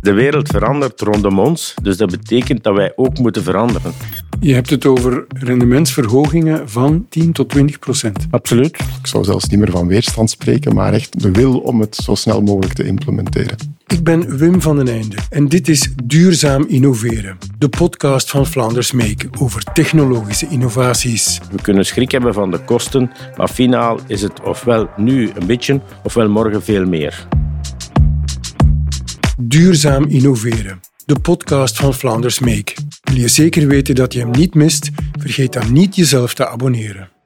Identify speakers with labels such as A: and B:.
A: De wereld verandert rondom ons, dus dat betekent dat wij ook moeten veranderen.
B: Je hebt het over rendementsverhogingen van 10 tot 20 procent.
A: Absoluut.
C: Ik zou zelfs niet meer van weerstand spreken, maar echt de wil om het zo snel mogelijk te implementeren.
B: Ik ben Wim van den Einde en dit is Duurzaam Innoveren, de podcast van Flanders Make over technologische innovaties.
A: We kunnen schrik hebben van de kosten, maar finaal is het ofwel nu een beetje, ofwel morgen veel meer.
B: Duurzaam Innoveren, de podcast van Flanders Make. Wil je zeker weten dat je hem niet mist? Vergeet dan niet jezelf te abonneren.